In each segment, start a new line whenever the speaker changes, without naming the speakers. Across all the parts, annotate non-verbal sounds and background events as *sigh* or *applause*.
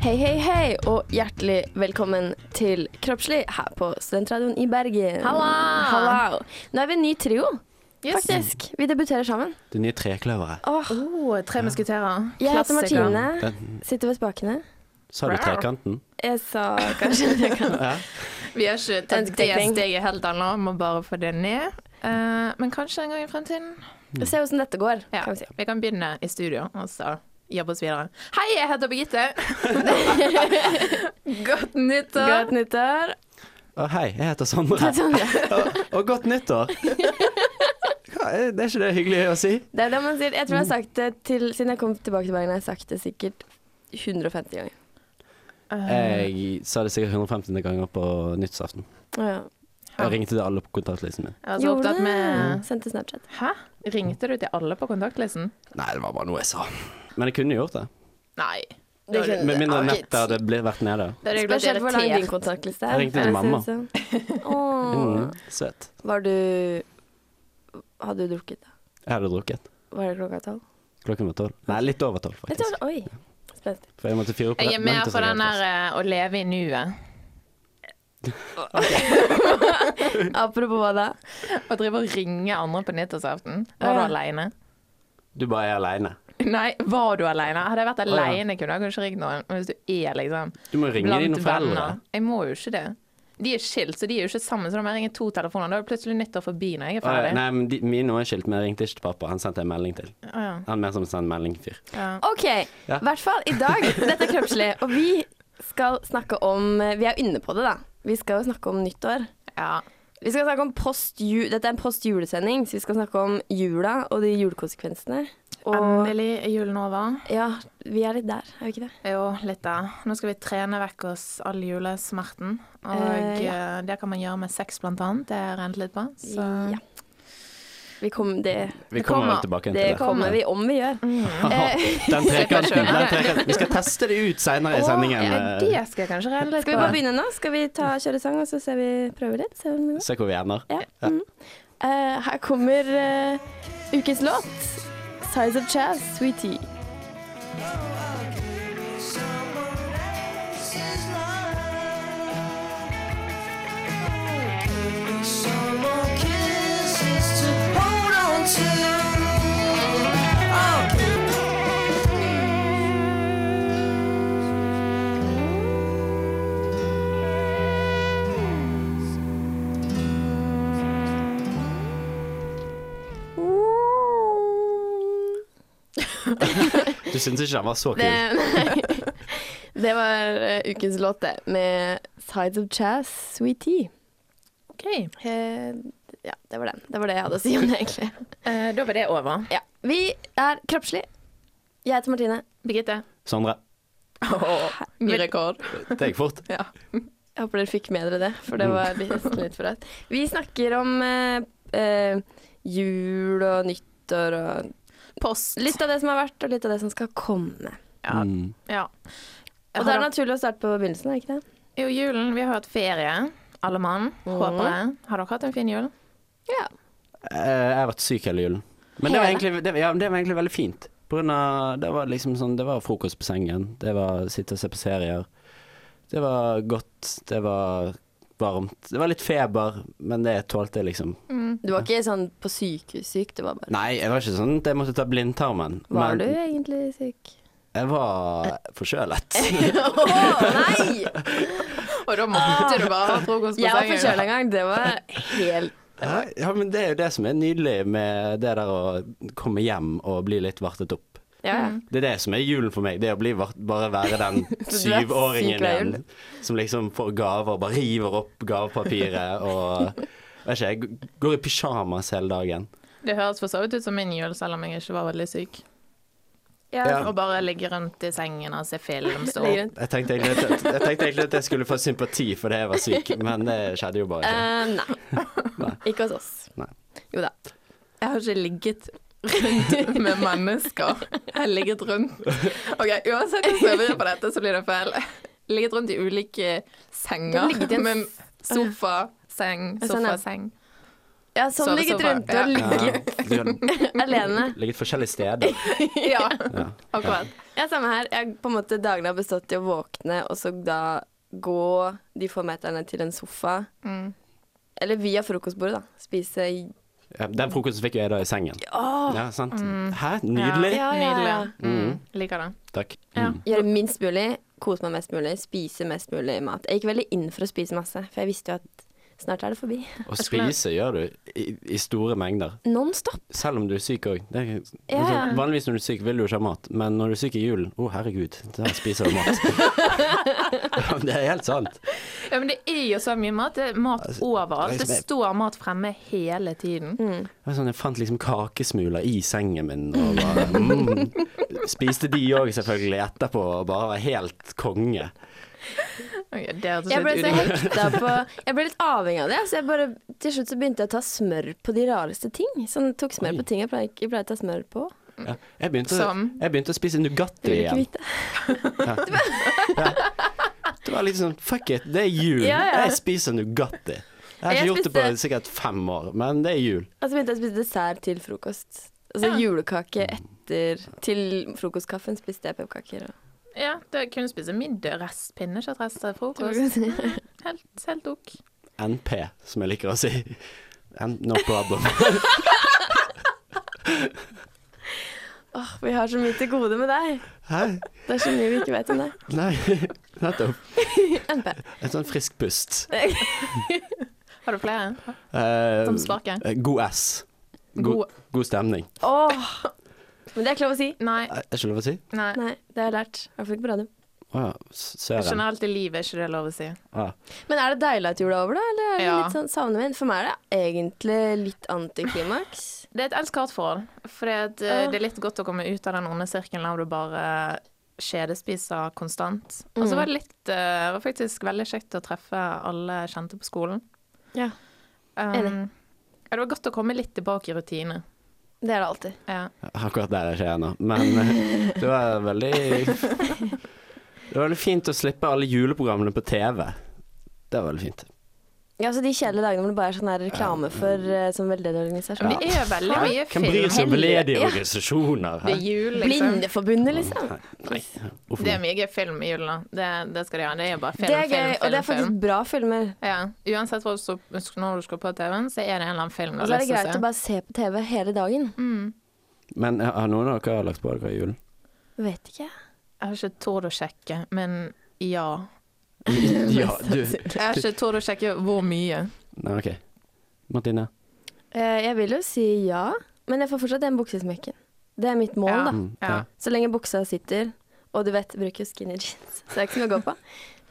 Hei, hei, hei, og hjertelig velkommen til Kroppslig her på Studentradioen i Bergen.
Halla!
Hallo. Nå er vi en ny trio,
Yes.
faktisk. Vi debuterer sammen.
Det nye trekløveret.
Åh,
Oh, tre musketerer.
jeg heter
Klassiker.
Martine,
Den-
sitter ved spakene.
Sa du trekanten?
Jeg sa *laughs* kanskje det kan
Ja.
Vi har ikke tatt det
Ønsketenkning.
steget helt ennå, må bare få det ned. Eh, men kanskje en gang i fremtiden.
Se hvordan dette går,
Ja,
kan vi si.
vi kan begynne i studio og så jobbe oss videre. Hei, jeg
*laughs*
heter Birgitte. Godt nyttår.
Godt nyttår.
Å, hei, jeg
*laughs*
heter Sondre.
Sånn, ja.
Og, og godt nyttår. Hva, er det er ikke det hyggelig å si?
Det er det man sier. Jeg tror jeg
Mm.
har sagt det til, siden jeg kom tilbake til Bergen, har jeg sagt det sikkert 150 ganger.
Jeg sa det sikkert 150. ganger på nyttårsaften.
Ja.
Jeg ringte til alle på kontaktlisten min.
Jeg var så opptatt med
Sendte Snapchat.
Hæ? Ringte du til alle på kontaktlisten?
Nei, det var bare noe jeg sa. Men jeg kunne gjort det.
Nei.
Det kunne-
Med mindre
Ok.
nettet hadde blitt vært nede.
Da hadde jeg blitt
Spesielt hvor lang din
irritert.
kontaktliste er.
Jeg ringte til mamma.
sånn.
*laughs*
Åh.
Mm, søt.
Var du Hadde du drukket da?
Jeg hadde drukket.
Var det klokka tolv?
Klokken var tolv. Nei, litt over tolv,
Jeg tror-
faktisk.
Oi. Spenstig.
For jeg måtte fyre opp
Jeg er mer
nettet
for
som jeg
den
hadde
der eh, å leve i nuet.
Apropos hva da?
Å drive og ringe andre på nyttårsaften. Var du
Ja.
aleine?
først. Du bare er aleine.
*laughs* Nei, var du alene? Hadde jeg vært
ja.
alene, kunne jeg kanskje ringt noen. Men hvis du er liksom
Du må ringe
blant
dine foreldre.
venner- Jeg må jo ikke det. De er skilt, så de er jo ikke sammen. Så da må jeg ringe to telefoner. Da er det plutselig nyttår forbi når jeg er
Å, ja.
ferdig.
Nei, men de, mine var skilt, men jeg ringte ikke til pappa. Han sendte en melding til.
Å, ja.
Han er mer som en sånn meldingfyr.
Ja.
OK. I
Ja.
hvert fall i dag. Dette er kroppslig. Og vi skal snakke om Vi er inne på det, da. Vi skal jo snakke om nyttår.
Ja.
Vi skal snakke om post ju- Dette er en post julesending, så vi skal snakke om jula og de julekonsekvensene. Og
Endelig er julen over.
ja, vi er litt der, er vi ikke det?
Jo, litt da. Nå skal vi trene vekk oss all julesmerten. Og
Eh,
eh, det kan man gjøre med sex, blant annet. Det har jeg regnet litt på. Så
Ja. Vi kom, det,
Vi
Det
kommer
kommer.
vel tilbake til
det kommer vi om vi gjør. Eh,
Den
Slipper
trekanten.
selv.
Den trekanten. Vi skal teste det ut senere i
Å,
sendingen.
ja,
eh,
det skal jeg kanskje regne
*laughs*
litt
Skal vi bare begynne nå? Skal vi ta kjøre sang, og så ser vi prøver litt? Ser vi om det går?
Se hvor vi ender.
Ja. Mm. Eh, her kommer eh, ukens låt. 'Size of Chaz, Sweetie'.
Du syns ikke han var så kul?
*laughs* Det, nei. *laughs* det var eh, ukens låt, det. Med 'Sides of Chaz, Sweetie'.
Ok.
Eh, ja, det var den. Det var det jeg hadde å si om det, egentlig.
Eh, da var det over.
Ja. Vi er kroppslig. Jeg heter Martine.
Birgitte.
Sondre,
Åh, ny rekord.
det gikk fort.
Ja.
Jeg håper dere fikk med dere det, for det var nesten litt for høyt. Vi snakker om eh, eh, jul og nyttår og
Post.
litt av det som har vært, og litt av det som skal komme.
Ja.
Mm.
ja.
Og det er naturlig å starte på begynnelsen, er det ikke det?
Jo, julen. Vi har hatt ferie, alle mann.
Mhm.
Håper jeg. Har dere hatt en fin jul?
Ja.
Eh, Jeg har vært syk hele julen. Men det var
Hele?
egentlig, det, ja, det var egentlig veldig fint. På grunn av Det var liksom sånn Det var frokost på sengen. Det var sitte og se på serier. Det var godt. Det var varmt. Det var litt feber, men det tålte jeg liksom.
Du var ikke sånn på sykehus syk, det var bare
Nei, jeg var ikke sånn at jeg måtte ta blindtarmen.
Var
men
du egentlig *laughs* syk?
Jeg var forkjølet.
Å nei!
Og da måtte du bare ha frokost
Jeg var forkjøla en gang. Det var helt
Ja, ja, men det er jo det som er nydelig med det der å komme hjem og bli litt vartet opp.
Ja, ja.
Det er det som er julen for meg. Det er å bli vart, bare være den
*laughs* du er syk
syvåringen
hver
igjen som liksom får gaver, bare river opp gavepapiret og vet ikke, jeg g- går i pysjamas hele dagen.
Det høres for så vidt ut som min jul, selv om jeg ikke var veldig syk.
Ja.
Og bare ligge rundt i sengen og se film. Stå.
Ligger rundt.
Jeg tenkte, egentlig at, jeg tenkte egentlig at jeg skulle få sympati fordi jeg var syk, men det skjedde jo bare ikke.
Eh, nei. Ikke hos oss.
Nei.
Jo da.
Jeg har ikke ligget rundt med mennesker. Jeg har ligget rundt Ok, Uansett hvordan jeg vrir på dette, så blir det feil. Ligget rundt i ulike
Du har
senger.
ligget i en
Med sofa, seng,
Ja, sånn, ja.
sofa, seng.
Ja, sånn
Sove
ligget
sofa.
rundt og
Ja, du har
ligget alene. *laughs*
ligget forskjellige steder.
Ja,
Ja.
akkurat.
Ja, samme her. Jeg, på en måte, dagene har bestått i å våkne, og så da gå de få meterne til en sofa.
Mm.
Eller via frokostbordet, da. Spise
Ja, Den frokosten fikk jo jeg da i sengen.
Åh! Mm.
Ja, sant? Hæ? Nydelig.
Ja, ja, ja.
Nydelig. Mm. Liker det.
Takk.
Ja.
Mm.
Gjøre minst mulig, kose meg mest mulig, spise mest mulig mat. Jeg gikk veldig inn for å spise masse, for jeg visste jo at snart er det forbi.
Og
skulle-
spise gjør du i, i store mengder.
Non stop.
Selv om du er syk òg.
Ja.
Vanligvis når du er syk, vil du ikke ha mat, men når du er syk i julen Å, herregud, der spiser du mat. Ja, men *laughs* det er helt sant.
Ja, men det er jo så mye mat. Det er mat overalt. Det står mat fremme hele tiden.
Mm.
Det var Sånn, jeg fant liksom kakesmuler i sengen min og bare mm. Spiste de òg selvfølgelig etterpå og bare var helt konge.
Ok, det altså hørtes
Jeg ble så
litt urimelig
hekta på Jeg ble litt avhengig av det. Så jeg bare, til slutt så begynte jeg å ta smør på de rareste ting. Sånn, tok smør på ting jeg pleier, ikke- jeg pleier å ta smør på.
Ja. Jeg, begynte,
Som?
jeg begynte å spise
Det
Nugatti
vil du ikke
igjen.
vite.
Det var litt sånn fuck it, det er jul.
Ja, ja.
Jeg spiser Nugatti. Jeg har
Jeg
ikke gjort det på
spiste-
sikkert fem år, men det er
Og
jul.
så begynte Altså, jeg å spise dessert til frokost. Altså
Ja.
julekake etter Til frokostkaffen spiste jeg pepperkaker. og-
Ja, da kunne du spise middag, rest, pinnekjøttrest til
*laughs*
frokost.
Frokost.
Helt, helt ok.
NP, som jeg liker å si. N- No problem.
Åh, vi har så mye til gode med deg.
Hæ?
Det er så mye vi ikke vet om deg.
Nei, *laughs* nettopp.
NP.
Et sånn frisk pust.
Har du flere?
Eh,
Som svake?
eh, god S. God,
God
god stemning.
Åh. Men det er ikke lov å si.
Nei.
Eh, Er ikke lov å si?
Nei.
Nei, det har jeg lært. I hvert fall ikke på radio.
Å ja, s- søren.
Generelt i livet er ikke det lov å si.
Ah.
Men er det deilig at jula er over, da? Eller er det
Ja.
litt sånn savner vi den? For meg er det egentlig litt antiklimaks.
Det er et elsk-hat-forhold. For det,
Ja.
eh, det er litt godt å komme ut av den onde sirkelen der du bare kjedespiser konstant. Og
Mm.
så var det litt eh, Det var faktisk veldig kjekt å treffe alle kjente på skolen.
Ja.
Um,
Enig.
ja, det var godt å komme litt tilbake i rutine.
Det er det alltid.
Ja.
Akkurat der er ikke jeg ennå, men eh, det var veldig Det var veldig fint å slippe alle juleprogrammene på TV. Det var veldig fint.
Ja, så De kjedelige dagene hvor det bare er sånn her reklame for uh, som veldedig organisasjon.
Men det er veldig mye
Hvem bryr seg
film.
om veldedige
Ja.
organisasjoner?
Det
Hæ?
er jul, liksom.
Blindeforbundet, liksom.
Nei. Uff,
Det er mye gøy film i julen. da. Det, det skal de ha. Det er bare film,
Det er
film,
gøy,
film.
og det er
film.
faktisk bra filmer.
Ja. Uansett hva du står, når du skal på TV-en, så er det en eller annen film
Og
du har
så er det
lyst til å
greit
se.
å bare se på TV hele dagen.
Men eh, har noen av dere lagt på dere i
*laughs*
julen?
Vet ikke.
Jeg har ikke tort å sjekke, men ja.
Ja, du
Jeg har ikke tort å sjekke hvor mye.
Nei, OK. Martine?
Eh, Jeg vil jo si ja, men jeg får fortsatt den buksesmekken. Det er mitt mål, da.
Mm,
Ja.
ja.
Så lenge buksa sitter, og du vet, jeg bruker jo skinny jeans, så det er ikke noe å gå på.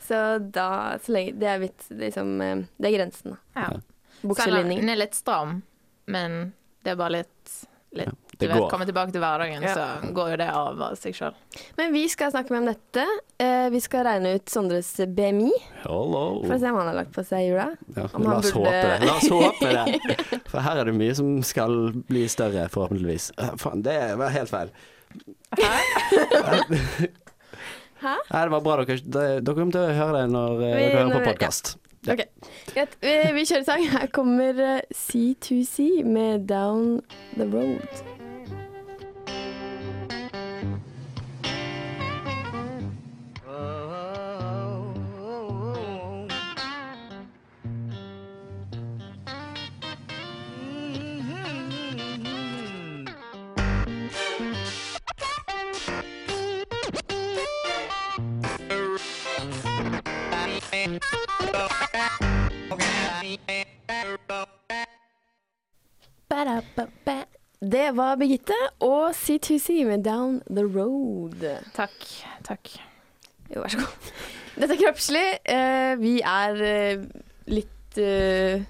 Så da, så lenge Det er mitt liksom eh, Det er grensen, da.
Ja. Selv om
Bukselinning.
Den er litt stram, men det er bare litt, litt Du
Det
vet,
går.
komme tilbake til hverdagen,
Ja.
så går jo det av av seg sjøl.
Men vi skal snakke med om dette. Eh, Vi skal regne ut Sondres BMI,
Hello.
for å se om han har lagt på seg i jula.
Ja,
Om
la
han
oss
burde-
håpe det. La oss
*laughs*
håpe det. For her er det mye som skal bli større, forhåpentligvis. Eh, Faen, det var helt feil. *laughs*
Hæ?
Nei, det var bra dere det- Dere kommer til å høre det når eh,
Vi-
dere hører
når
på
vi-
podkast. Ja.
Ok, greit. Vi, vi kjører sang. Her kommer eh, C2C med Down the Road. Det var Birgitte og C2C med Down the Road.
Takk. Takk.
Jo, vær så god. Dette er kroppslig. Eh, vi er eh, litt eh,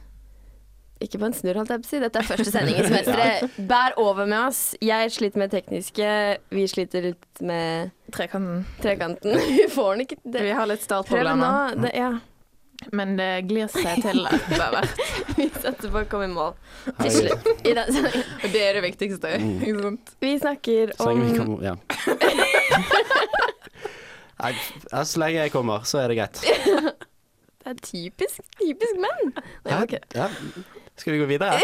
ikke på en snurr, holdt jeg på å si. Dette er første sending *laughs* i semesteret. Bær over med oss. Jeg sliter med det tekniske. Vi sliter litt med
Trekanten.
trekanten. *laughs* Vi får den ikke
Vi
det.
har litt
Prøv det nå.
startproblemer,
Det, ja.
men det glir seg *laughs* til etter hvert.
*laughs* Vi satser på å komme i mål til
Herregud.
slutt i den sendingen.
Og det er det viktigste. ikke sant?
Vi snakker
Mm. Så lenge vi
om *laughs*
kommer Ja. Nei, ja, så lenge jeg kommer, så er det greit.
Det er typisk, typisk menn. *laughs* Nei,
Hæ?
ok.
Ja. Skal vi gå videre?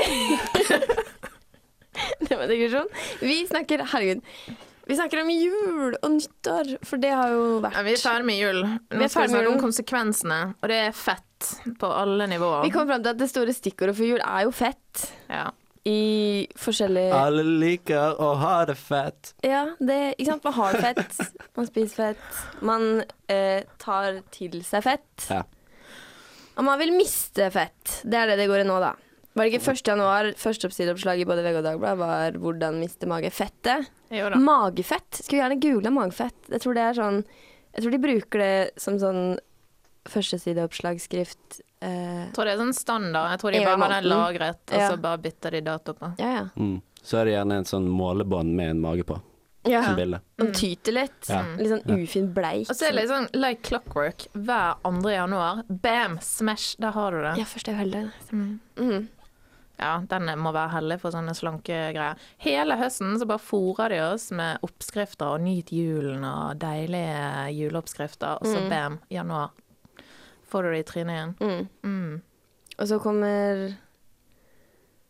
Det var digresjon. Vi snakker sånn. Herregud. Vi snakker om jul og nyttår, for det har jo vært
Ja, vi er ferdig med jul.
Vi
Nå
er ferdig
skal vi
med
snakke om
julen.
konsekvensene, og det er fett på alle nivåer.
Vi kom fram til at det store stikkordet for jul er jo fett.
Ja.
I forskjellige
Alle liker å ha det fett.
Ja, det, ikke sant. Man har fett, man spiser fett, man eh, tar til seg fett.
Ja.
Og man vil miste fett. Det er det det går i nå, da. Var det ikke 1. januar første oppsideoppslag i både VG og Dagbladet var 'Hvordan miste magefettet'?
Jo da.
Magefett. Skulle gjerne googla magefett. Jeg tror det er sånn Jeg tror de bruker det som sånn førstesideoppslagsskrift. Eh,
Jeg tror det er sånn standard. Jeg tror de
En gang
bare
i
har den
måneden.
lagret, og
Ja.
så bare bytter de dato på.
ja, ja.
Mm. Så er det gjerne en sånn målebånd med en mage på,
ja.
som bilde.
Man tyter litt.
Ja.
Litt sånn ufin bleik.
Mm. Og så er det litt sånn like clockwork hver 2. januar. Bam! Smash! Der har du det.
Ja, først er jo heldig.
sånn- Mm.
Mm.
Ja, den må være heldig for sånne slankegreier. Hele høsten så bare fôrer de oss med oppskrifter og nyt julen og deilige juleoppskrifter, og så bam, januar. Får du det i trynet igjen.
Mm.
Mm.
Og så kommer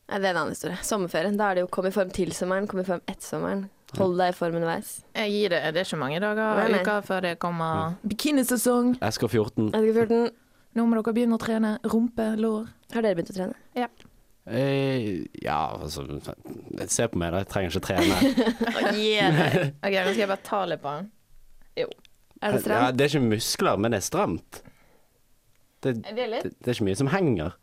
Nei, det er en annen historie. Sommerferien. Da er det jo kom i form til sommeren, kom i form etter sommeren. Hold deg i form underveis.
Jeg gir det. Det er ikke mange dager
Nei,
og
nei.
uker før det kommer bikinisesong.
SK14.
SK14,
Nå må dere begynne å trene rumpe, lår.
har dere begynt å
*laughs*
trene?
Eh, ja, altså Se på meg, da. Jeg trenger ikke trene.
Ok, nå skal jeg bare ta litt på den.
Er det
Ja,
stramt?
det er ikke muskler, men det er stramt. Det, det,
Det er litt,
det er ikke mye som henger.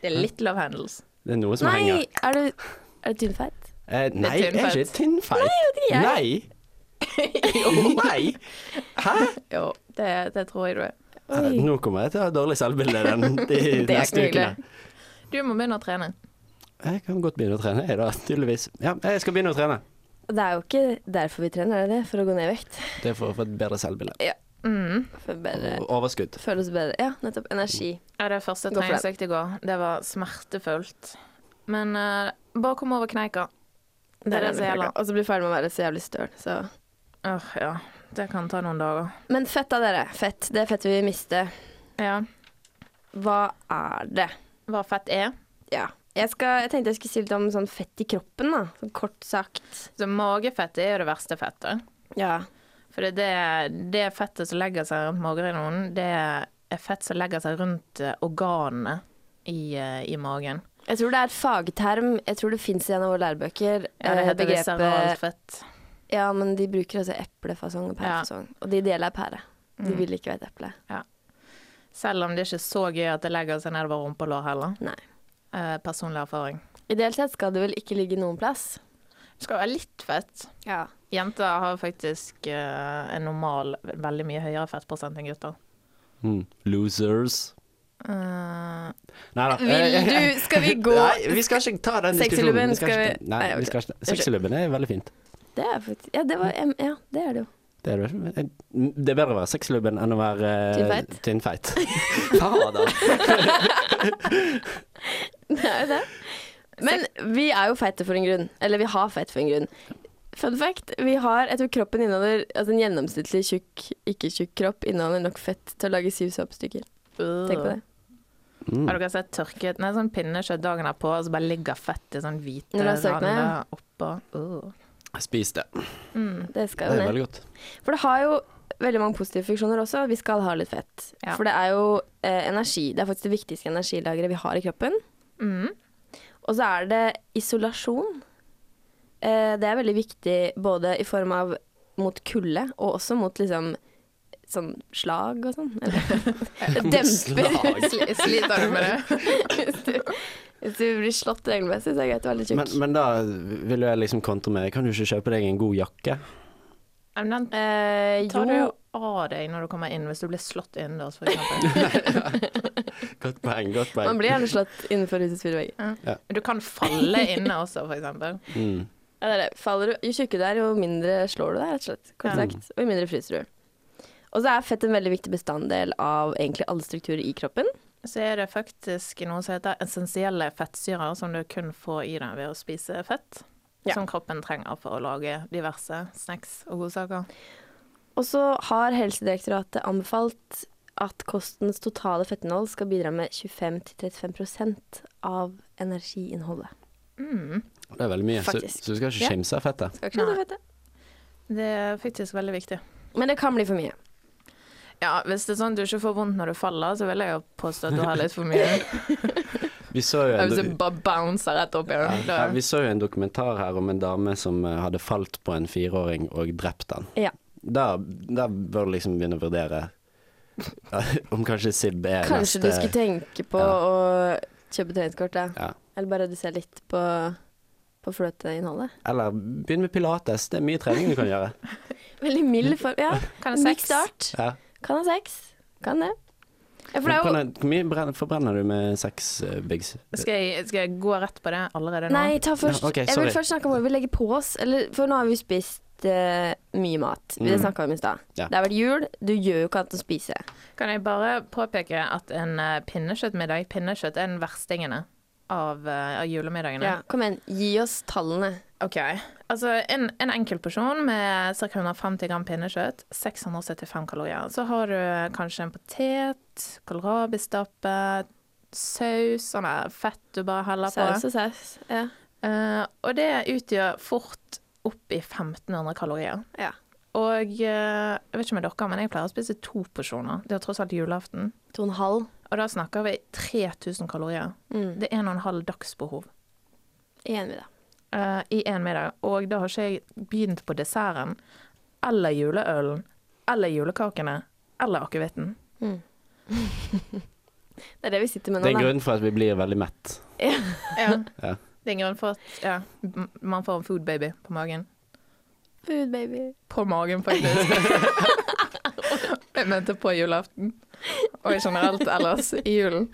det er litt love handles.
Det er noe som
Nei!
henger.
Er du, er du tynnfeit?
Eh, nei,
Det er
jeg er ikke
vet
tynnfeit.
ikke jeg.
Nei. Jo, nei. Hæ?
Jo, det, det tror jeg du er.
Ja, Nå kommer jeg til å ha dårlig selvbilde den, de
Det er
neste
ikke
ukene.
hyggelig. Du må begynne å trene.
Jeg kan godt begynne å trene, jeg da, tydeligvis. Ja, jeg skal begynne å trene.
Det er jo ikke derfor vi trener, er det det? For å gå ned i vekt?
Det er for å få et bedre selvbilde.
Mm.
For bedre
Og Overskudd.
Føle oss bedre. Ja, nettopp. Energi.
Ja, det første
Gå for det.
treningsøkt i går, det var smertefullt. Men eh, bare kom over kneika. Det er det som gjelder.
Og så blir vi ferdig med å være så jævlig støl, så
Åh, ja. Det kan ta noen dager.
Men fett da, dere. Fett. Det er fett vi vil miste.
Ja.
Hva er det?
Hva fett er.
Ja. Jeg, skal, jeg tenkte jeg skulle si litt om sånn fett i kroppen, da. Sånn kort sagt.
Så magefett er jo det verste fettet.
Ja.
For det, er det, det fettet som legger seg rundt mageregionen, det er fett som legger seg rundt eh, organene i, eh, i magen.
Jeg tror det er et fagterm. Jeg tror det fins i en av våre lærebøker.
Ja, det
Eh,
heter
Begrepet
viseralfett.
Ja, men de bruker altså eplefasong og pærefasong. Og de deler er pære. De vil ikke være et eple.
Selv om det ikke er så gøy at det legger seg nedover rumpa og lår heller.
Nei.
Eh, personlig erfaring.
Ideelt sett skal det vel ikke ligge noen plass.
Det skal være litt fett.
Ja.
Jenter har faktisk eh, en normal, veldig mye høyere fettprosent enn gutter.
Mm. Losers.
Eh,
Nei da.
Vil
*laughs*
du Skal vi gå
Eh, Nei, vi skal ikke ta den
Sexylubben
diskusjonen. Vi
skal
skal ikke
vi-
ta- Nei,
Nei, ok.
vi skal ikke Sexylubben er veldig fint.
Det er faktisk Ja, det var Ja, det er det jo. *laughs*
Det er, det ikke. det er bedre å være sexlubben enn å være eh,
Tynnfeit? *laughs*
tynnfeit. Fader.
Det er jo det. Men vi er jo feite for en grunn. Eller vi har feit for en grunn. Fun fact, vi har, jeg tror kroppen inneholder Altså en gjennomsnittlig tjukk, ikke tjukk kropp inneholder nok fett til å lage syv såpestykker. Tenk på det.
Mm.
Har dere sett tørket Nei, sånn pinnekjøtt dagen derpå, og så bare ligger fettet i sånn hvite
Når det har søkt ned, ja.
rander oppå. Uh.
Spis det.
Det skal jo
Det er
ned.
veldig godt.
For *laughs* det har jo veldig mange positive funksjoner også. Vi skal ha litt fett.
Ja.
For det er jo eh, energi. Det er faktisk det viktigste energilageret vi har i kroppen.
Mm.
Og så er det isolasjon. Eh, det er veldig viktig både i form av mot kulde, og også mot liksom sånn slag og sånn.
*laughs*
Eller demper.
Slag.
Sli- Sliter du med det?
*laughs* hvis, du, hvis du blir slått regelmessig, så er det greit å være litt tjukk.
Men, men da vil jo jeg liksom kontre med Kan du ikke kjøpe deg en god jakke?
Ja, Men den
eh,
tar du
jo,
jo av deg når du kommer inn, hvis du blir slått innendørs, for eksempel.
Godt poeng, godt
man
poeng.
blir gjerne slått innenfor husets fire vegger.
Du kan falle inne også, for eksempel.
Mm.
Ja, det er det. Faller du, jo tjukkere du er, jo mindre slår du deg, rett og slett. Kort sagt. Og jo mindre fryser du. Og så er fett en veldig viktig bestanddel av egentlig alle strukturer i kroppen.
Så er det faktisk noe som heter essensielle fettsyrer, som du kun får i deg ved å spise fett.
Ja.
Som kroppen trenger for å lage diverse snacks og godsaker.
Og så har Helsedirektoratet anbefalt at kostens totale fettinnhold skal bidra med 25-35 av energiinnholdet.
Mm.
Det er veldig mye, så,
Faktisk.
så du skal
Ja.
ikke kimse av fettet.
Skal ikke skjønne
Nei.
fettet.
Det er faktisk veldig viktig.
Men det kan bli for mye.
Ja, Hvis det er sånn at du ikke får vondt når du faller, så vil jeg jo påstå at du har litt for *laughs* mye.
Vi så jo
Hvis du
en,
bare bouncer rett opp i det.
ja,
da-
vi så jo en dokumentar her om en dame som eh, hadde falt på en fireåring og drept han.
Ja.
Da, da bør du liksom begynne å vurdere ja, *laughs* om kanskje Sib er
Kanskje du
neste
skulle tenke på å kjøpe treningskort, ja.
Ja.
Eller bare redusere litt på, på fløteinnholdet.
Eller begynn med pilates. Det er mye trening du kan
*laughs*
gjøre.
Veldig mild form. Ja,
Kan jeg
myk
sex?
start.
Ja.
Kan ha sex. Kan det. Ja, for det er jo
Brenner- Hvor mye brenner, forbrenner du med seks eh, bigs?
Skal jeg, skal jeg gå rett på det allerede nå?
Nei, ta først.
Ja, ok,
jeg
sorry.
vil først snakke om hva vi legger på oss. Eller, for nå har vi jo spist eh, mye mat. Vi
Mm.
snakket om i stad.
Ja.
Det har vært jul. Du gjør jo ikke annet enn å spise.
Kan jeg bare påpeke at en eh, pinnekjøttmiddag Pinnekjøtt er den verstingene av, eh, av julemiddagene.
Ja. Kom igjen, gi oss tallene.
Ok, altså En, en enkel porsjon med ca. 150 gram pinnekjøtt, 675 kalorier. Så har du eh, kanskje en potet, kålrabistappe, saus, sånn der fett du bare heller på.
Saus og saus. Ja.
Eh, og det utgjør fort opp i 1500 kalorier.
Ja.
Og eh, jeg vet ikke med dere, men jeg pleier å spise to porsjoner. Det er tross alt julaften.
To og en halv.
Og da snakker vi 3000 kalorier.
Mm.
Det er en og en halv dagsbehov
Enig, da.
eh, i én middag. Og da har ikke jeg begynt på desserten eller juleølen eller julekakene eller akevitten.
Det er det vi sitter med
Det er en
nå, da.
grunn for at vi blir veldig mett.
*laughs*
Ja.
Det er en grunn for at ja, m- man får en food baby på magen.
Food baby.
På magen, faktisk. *laughs* jeg mente på julaften. Og generelt ellers i julen.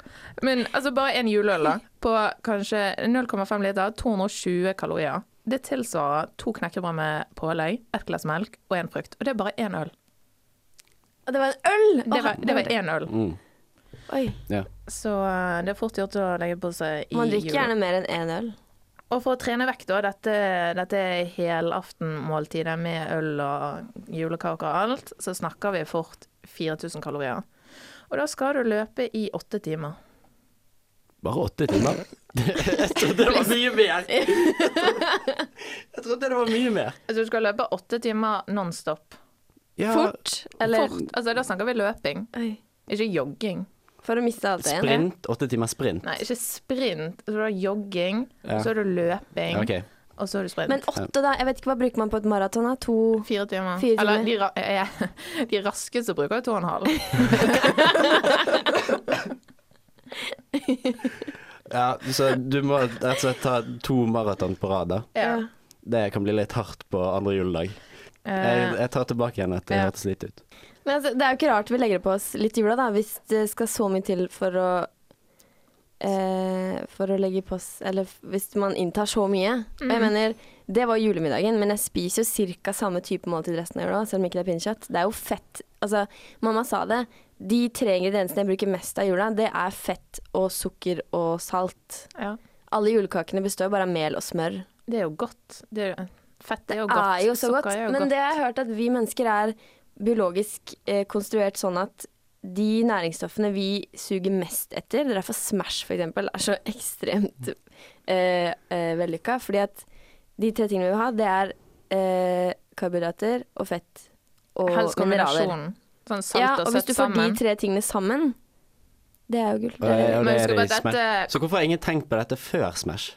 Men altså bare en juleøl, da. På kanskje 0,5 liter, 220 kalorier. Det tilsvarer to knekkebrød med pålegg, ett glass melk og én frukt. Og det er bare én øl.
Og det var en øl!
Det var-
Å,
det var én øl.
Mm.
Oi.
Så eh, det er fort gjort å legge på seg i
Man drikker
jula.
gjerne mer enn én øl.
Og for å trene vekk, da, dette, dette helaftenmåltidet med øl og julekaker og alt, så snakker vi fort 4000 kalorier. Og da skal du løpe i åtte timer.
Bare åtte timer.
*laughs*
*laughs* Jeg trodde det var mye mer. Jeg trodde det var mye mer.
Altså du skal løpe åtte timer nonstop.
Ja,
Fort. Eller
Fort. Altså da snakker vi løping,
Oi.
ikke jogging.
For å miste alt det igjen.
Sprint. Åtte timer sprint.
Nei, ikke sprint. Altså du har jogging, og
Ja.
så har du løping,
Ok.
og så har du sprint.
Men åtte, da? Jeg vet ikke, hva bruker man på et maraton? da? To
Fire timer.
Fire timer.
Eller de, ra *laughs* eh, de raskeste bruker jo to og en halv.
Ja, så du må rett og slett ta to maraton på rad, da.
*laughs* Ja.
Det kan bli litt hardt på andre juledag. Jeg,
Eh,
jeg tar tilbake igjen at det
Ja.
hørtes lite ut.
Men altså, det er jo ikke rart vi legger det på oss litt i jula, da, hvis det skal så mye til for å eh, For å legge på oss Eller f- hvis man inntar så mye. Og jeg mener, det var julemiddagen, men jeg spiser jo ca. samme type måltid resten av jula, selv om ikke det er pinnekjøtt. Det er jo fett. Altså, mamma sa det. De tre ingrediensene jeg bruker mest av i jula, det er fett og sukker og salt.
ja.
Alle julekakene består bare av mel og smør.
Det er jo godt. Det er, fett er jo
Det
godt.
er jo så
Sukker
godt.
er jo
men
godt.
det jeg har hørt at vi mennesker er biologisk eh, konstruert sånn at de næringsstoffene vi suger mest etter, det er derfor Smash for eksempel er så *laughs* ekstremt eh, eh, vellykka. Fordi at de tre tingene vi vil ha, det er eh, karbohydrater og fett og
Helst
mineraler.
kombinasjonen. Sånn salt
Ja,
og
og hvis du
søtt
får de
sammen.
tre tingene sammen, det er jo gull. Det er,
Ja,
Men
det
husk
er
på
det i
at dette
Så hvorfor har ingen tenkt på dette før Smash?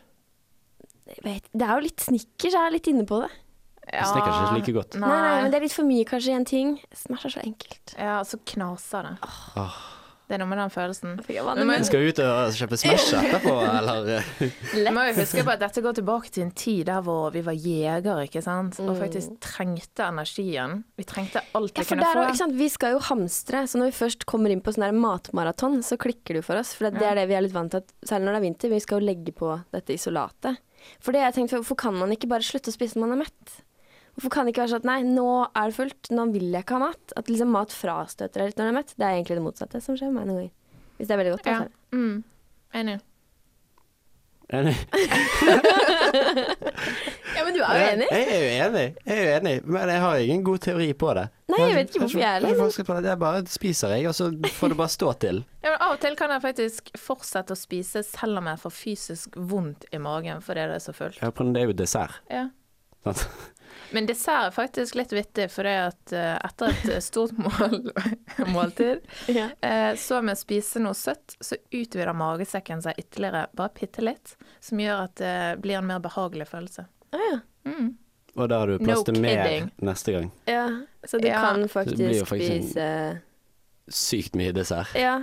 jeg vet, det er jo litt snickers, jeg er litt inne på det.
ja,
Snickers er ikke like godt.
Nei. Nei, men det er litt for mye kanskje i en ting. Smash er så enkelt.
Ja, så knaser det. Det er noe med den følelsen.
Fikk jeg vann i
Men-
munnen.
Skal vi ut og kjøpe
*laughs*
Smash etterpå, eller?
Vi må jo huske på at dette går tilbake til en tid der hvor vi var jegere, ikke sant. Og faktisk trengte energien. Vi trengte alt
Mm. Ja,
vi
for
kunne
der, også,
få.
ikke sant? Vi skal jo hamstre, så når vi først kommer inn på sånn her matmaraton, så klikker du for oss. For det er det vi er litt vant til, at, særlig når det er vinter. Vi skal jo legge på dette isolatet. For det har jeg tenkt, hvorfor kan man ikke bare slutte å spise når man er mett? Hvorfor kan det ikke være sånn at nei, nå er det fullt, nå vil jeg ikke ha mat. At liksom mat frastøter deg litt når du er mett. Det er egentlig det motsatte som skjer med meg noen ganger. Hvis det er veldig godt.
Ja.
altså.
Mm. Enig.
Enig.
Ja, men du er jo enig.
Jeg er jo enig, jeg er jo enig, men jeg har ingen god teori på det.
Nei, jeg vet ikke hvorfor jeg
heller.
heller.
Det Det er bare spiser jeg, og så får det bare stå til.
Ja, men av og til kan jeg faktisk fortsette å spise selv om jeg får fysisk vondt i magen fordi det er så fullt.
Ja, men det er jo dessert.
Ja.
Sant?
Men dessert er faktisk litt vittig, for at eh, etter et stort *laughs* mål, måltid,
Ja.
eh, så med å spise noe søtt, så utvider magesekken seg ytterligere, bare bitte litt, som gjør at det blir en mer behagelig følelse.
Å, ja.
*laughs* Og da har du plass
No
til mer
kidding.
neste gang.
ja. Så du
Ja.
kan
det blir jo
faktisk
faktisk en-
spise
Sykt mye dessert.
Ja.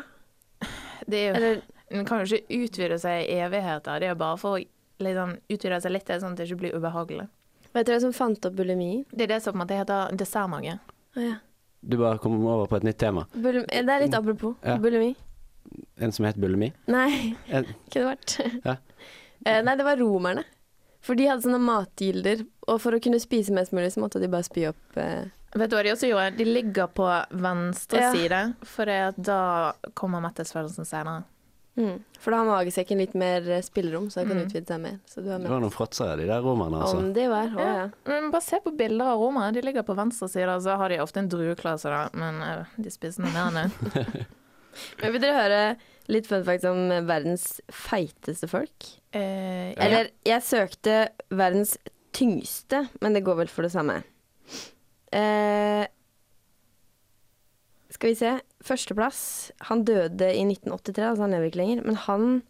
Det er jo,
Eller
den kan jo ikke utvide seg i evigheter, det er jo bare for å liksom, utvide seg litt, sånn at det ikke blir ubehagelig.
vet dere hvem som fant opp bulimi?
Det er det som på en måte heter dessertmage.
Å, ja.
Du bare kom over på et nytt tema.
Bulim eh, det er litt apropos
Mm. Ja.
bulimi.
En som het bulimi.
Nei,
En,
kunne vært.
Ja.
Eh, Nei, det var romerne. For de hadde sånne matgilder, og for å kunne spise mest mulig, så måtte de bare spy opp eh.
Vet du hva de også gjorde? De ligger på venstre
Ja.
side, for da kommer mettelsesfølelsen senere.
For da har magesekken litt mer eh, spillerom, så den kan
Mm.
utvide seg mer. Så du har
det
mer.
var noen fråtsere, de der romerne, altså.
Om de var. Å ja.
Men bare se på bilder av romere. De ligger på venstre side, og så har de ofte en drueklase, da. Men eh, de spiser noe
*laughs*
mer enn det.
Men vil dere høre litt fun facts om verdens feiteste folk?
Eh, ja.
Eller jeg søkte verdens tyngste, men det går vel for det samme. Eh, skal vi se. Førsteplass. Han døde i 1983, altså han lever ikke lenger. Men han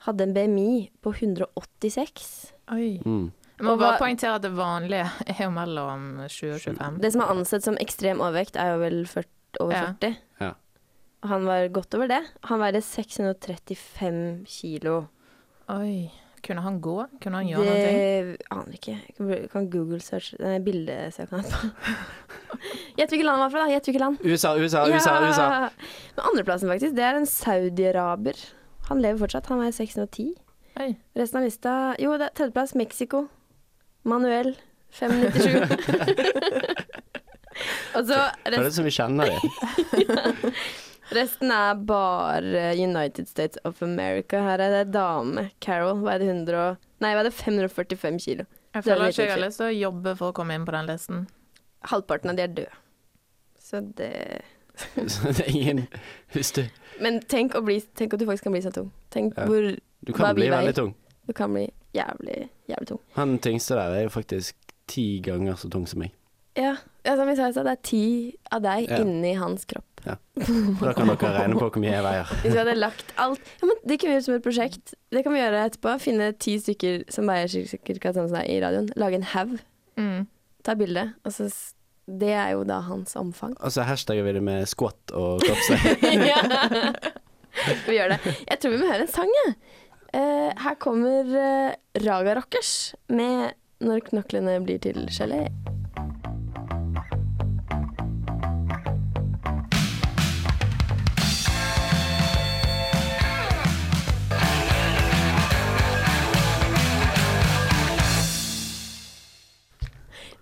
hadde en BMI på 186.
Oi.
Mm.
Jeg må
Og
bare
hva-
poengtere at det vanlige er jo mellom 20 og 25.
Det som er ansett som ekstrem overvekt, er jo vel 40, over
Ja.
40.
Ja.
Og han var godt over det. Han veide 635 kilo.
Oi. Kunne han gå? Kunne han
Det
gjøre noe?
aner ikke. Jeg kan- kan Google search Nei, bildesøknad på *laughs* Gjett hvilket land han var fra, da. Gjett hvilket land.
USA, USA, USA,
Ja!
USA.
Men andreplassen, faktisk, det er en saudiaraber. Han lever fortsatt. Han veier 610.
Oi.
Resten av lista Jo, det er tredjeplass Mexico. Manuel 597. *laughs* Og så
Det er
rest,
det som vi kjenner
*laughs*
det.
resten er bare United States of America. Her er det en dame. Carol veide 100 og Nei, veide 545 kilo.
Jeg
Det er
føler
litt
ikke jeg har
utkjent.
lyst til å jobbe for å komme inn på den listen.
Halvparten av de er døde. Så det
Så det er ingen Hvis du
Men tenk, å bli, tenk at du faktisk kan bli så tung. Tenk
Ja.
hvor
Du kan
Hva vi
bli
veier.
veldig tung.
du kan bli jævlig, jævlig tung.
Han tyngste der er jo faktisk ti ganger så tung som meg.
Ja, ja som vi sa i stad, det er ti av deg
Ja.
inni hans kropp.
Og Da kan dere regne på hvor mye jeg veier.
Hvis vi hadde lagt alt ja, men Det kunne vi gjort som et prosjekt. Det kan vi gjøre etterpå. Finne ti stykker som veier cirka sånn som deg i radioen. Lage en haug,
Mm.
ta bilde. Og så s- Det er jo da hans omfang.
Og så hashtagger vi det med squat og kroppsvekt.
Ja. vi gjør det. Jeg tror vi må høre en sang, jeg. Eh, her kommer eh, Raga Rockers med 'Når knoklene blir til gelé'.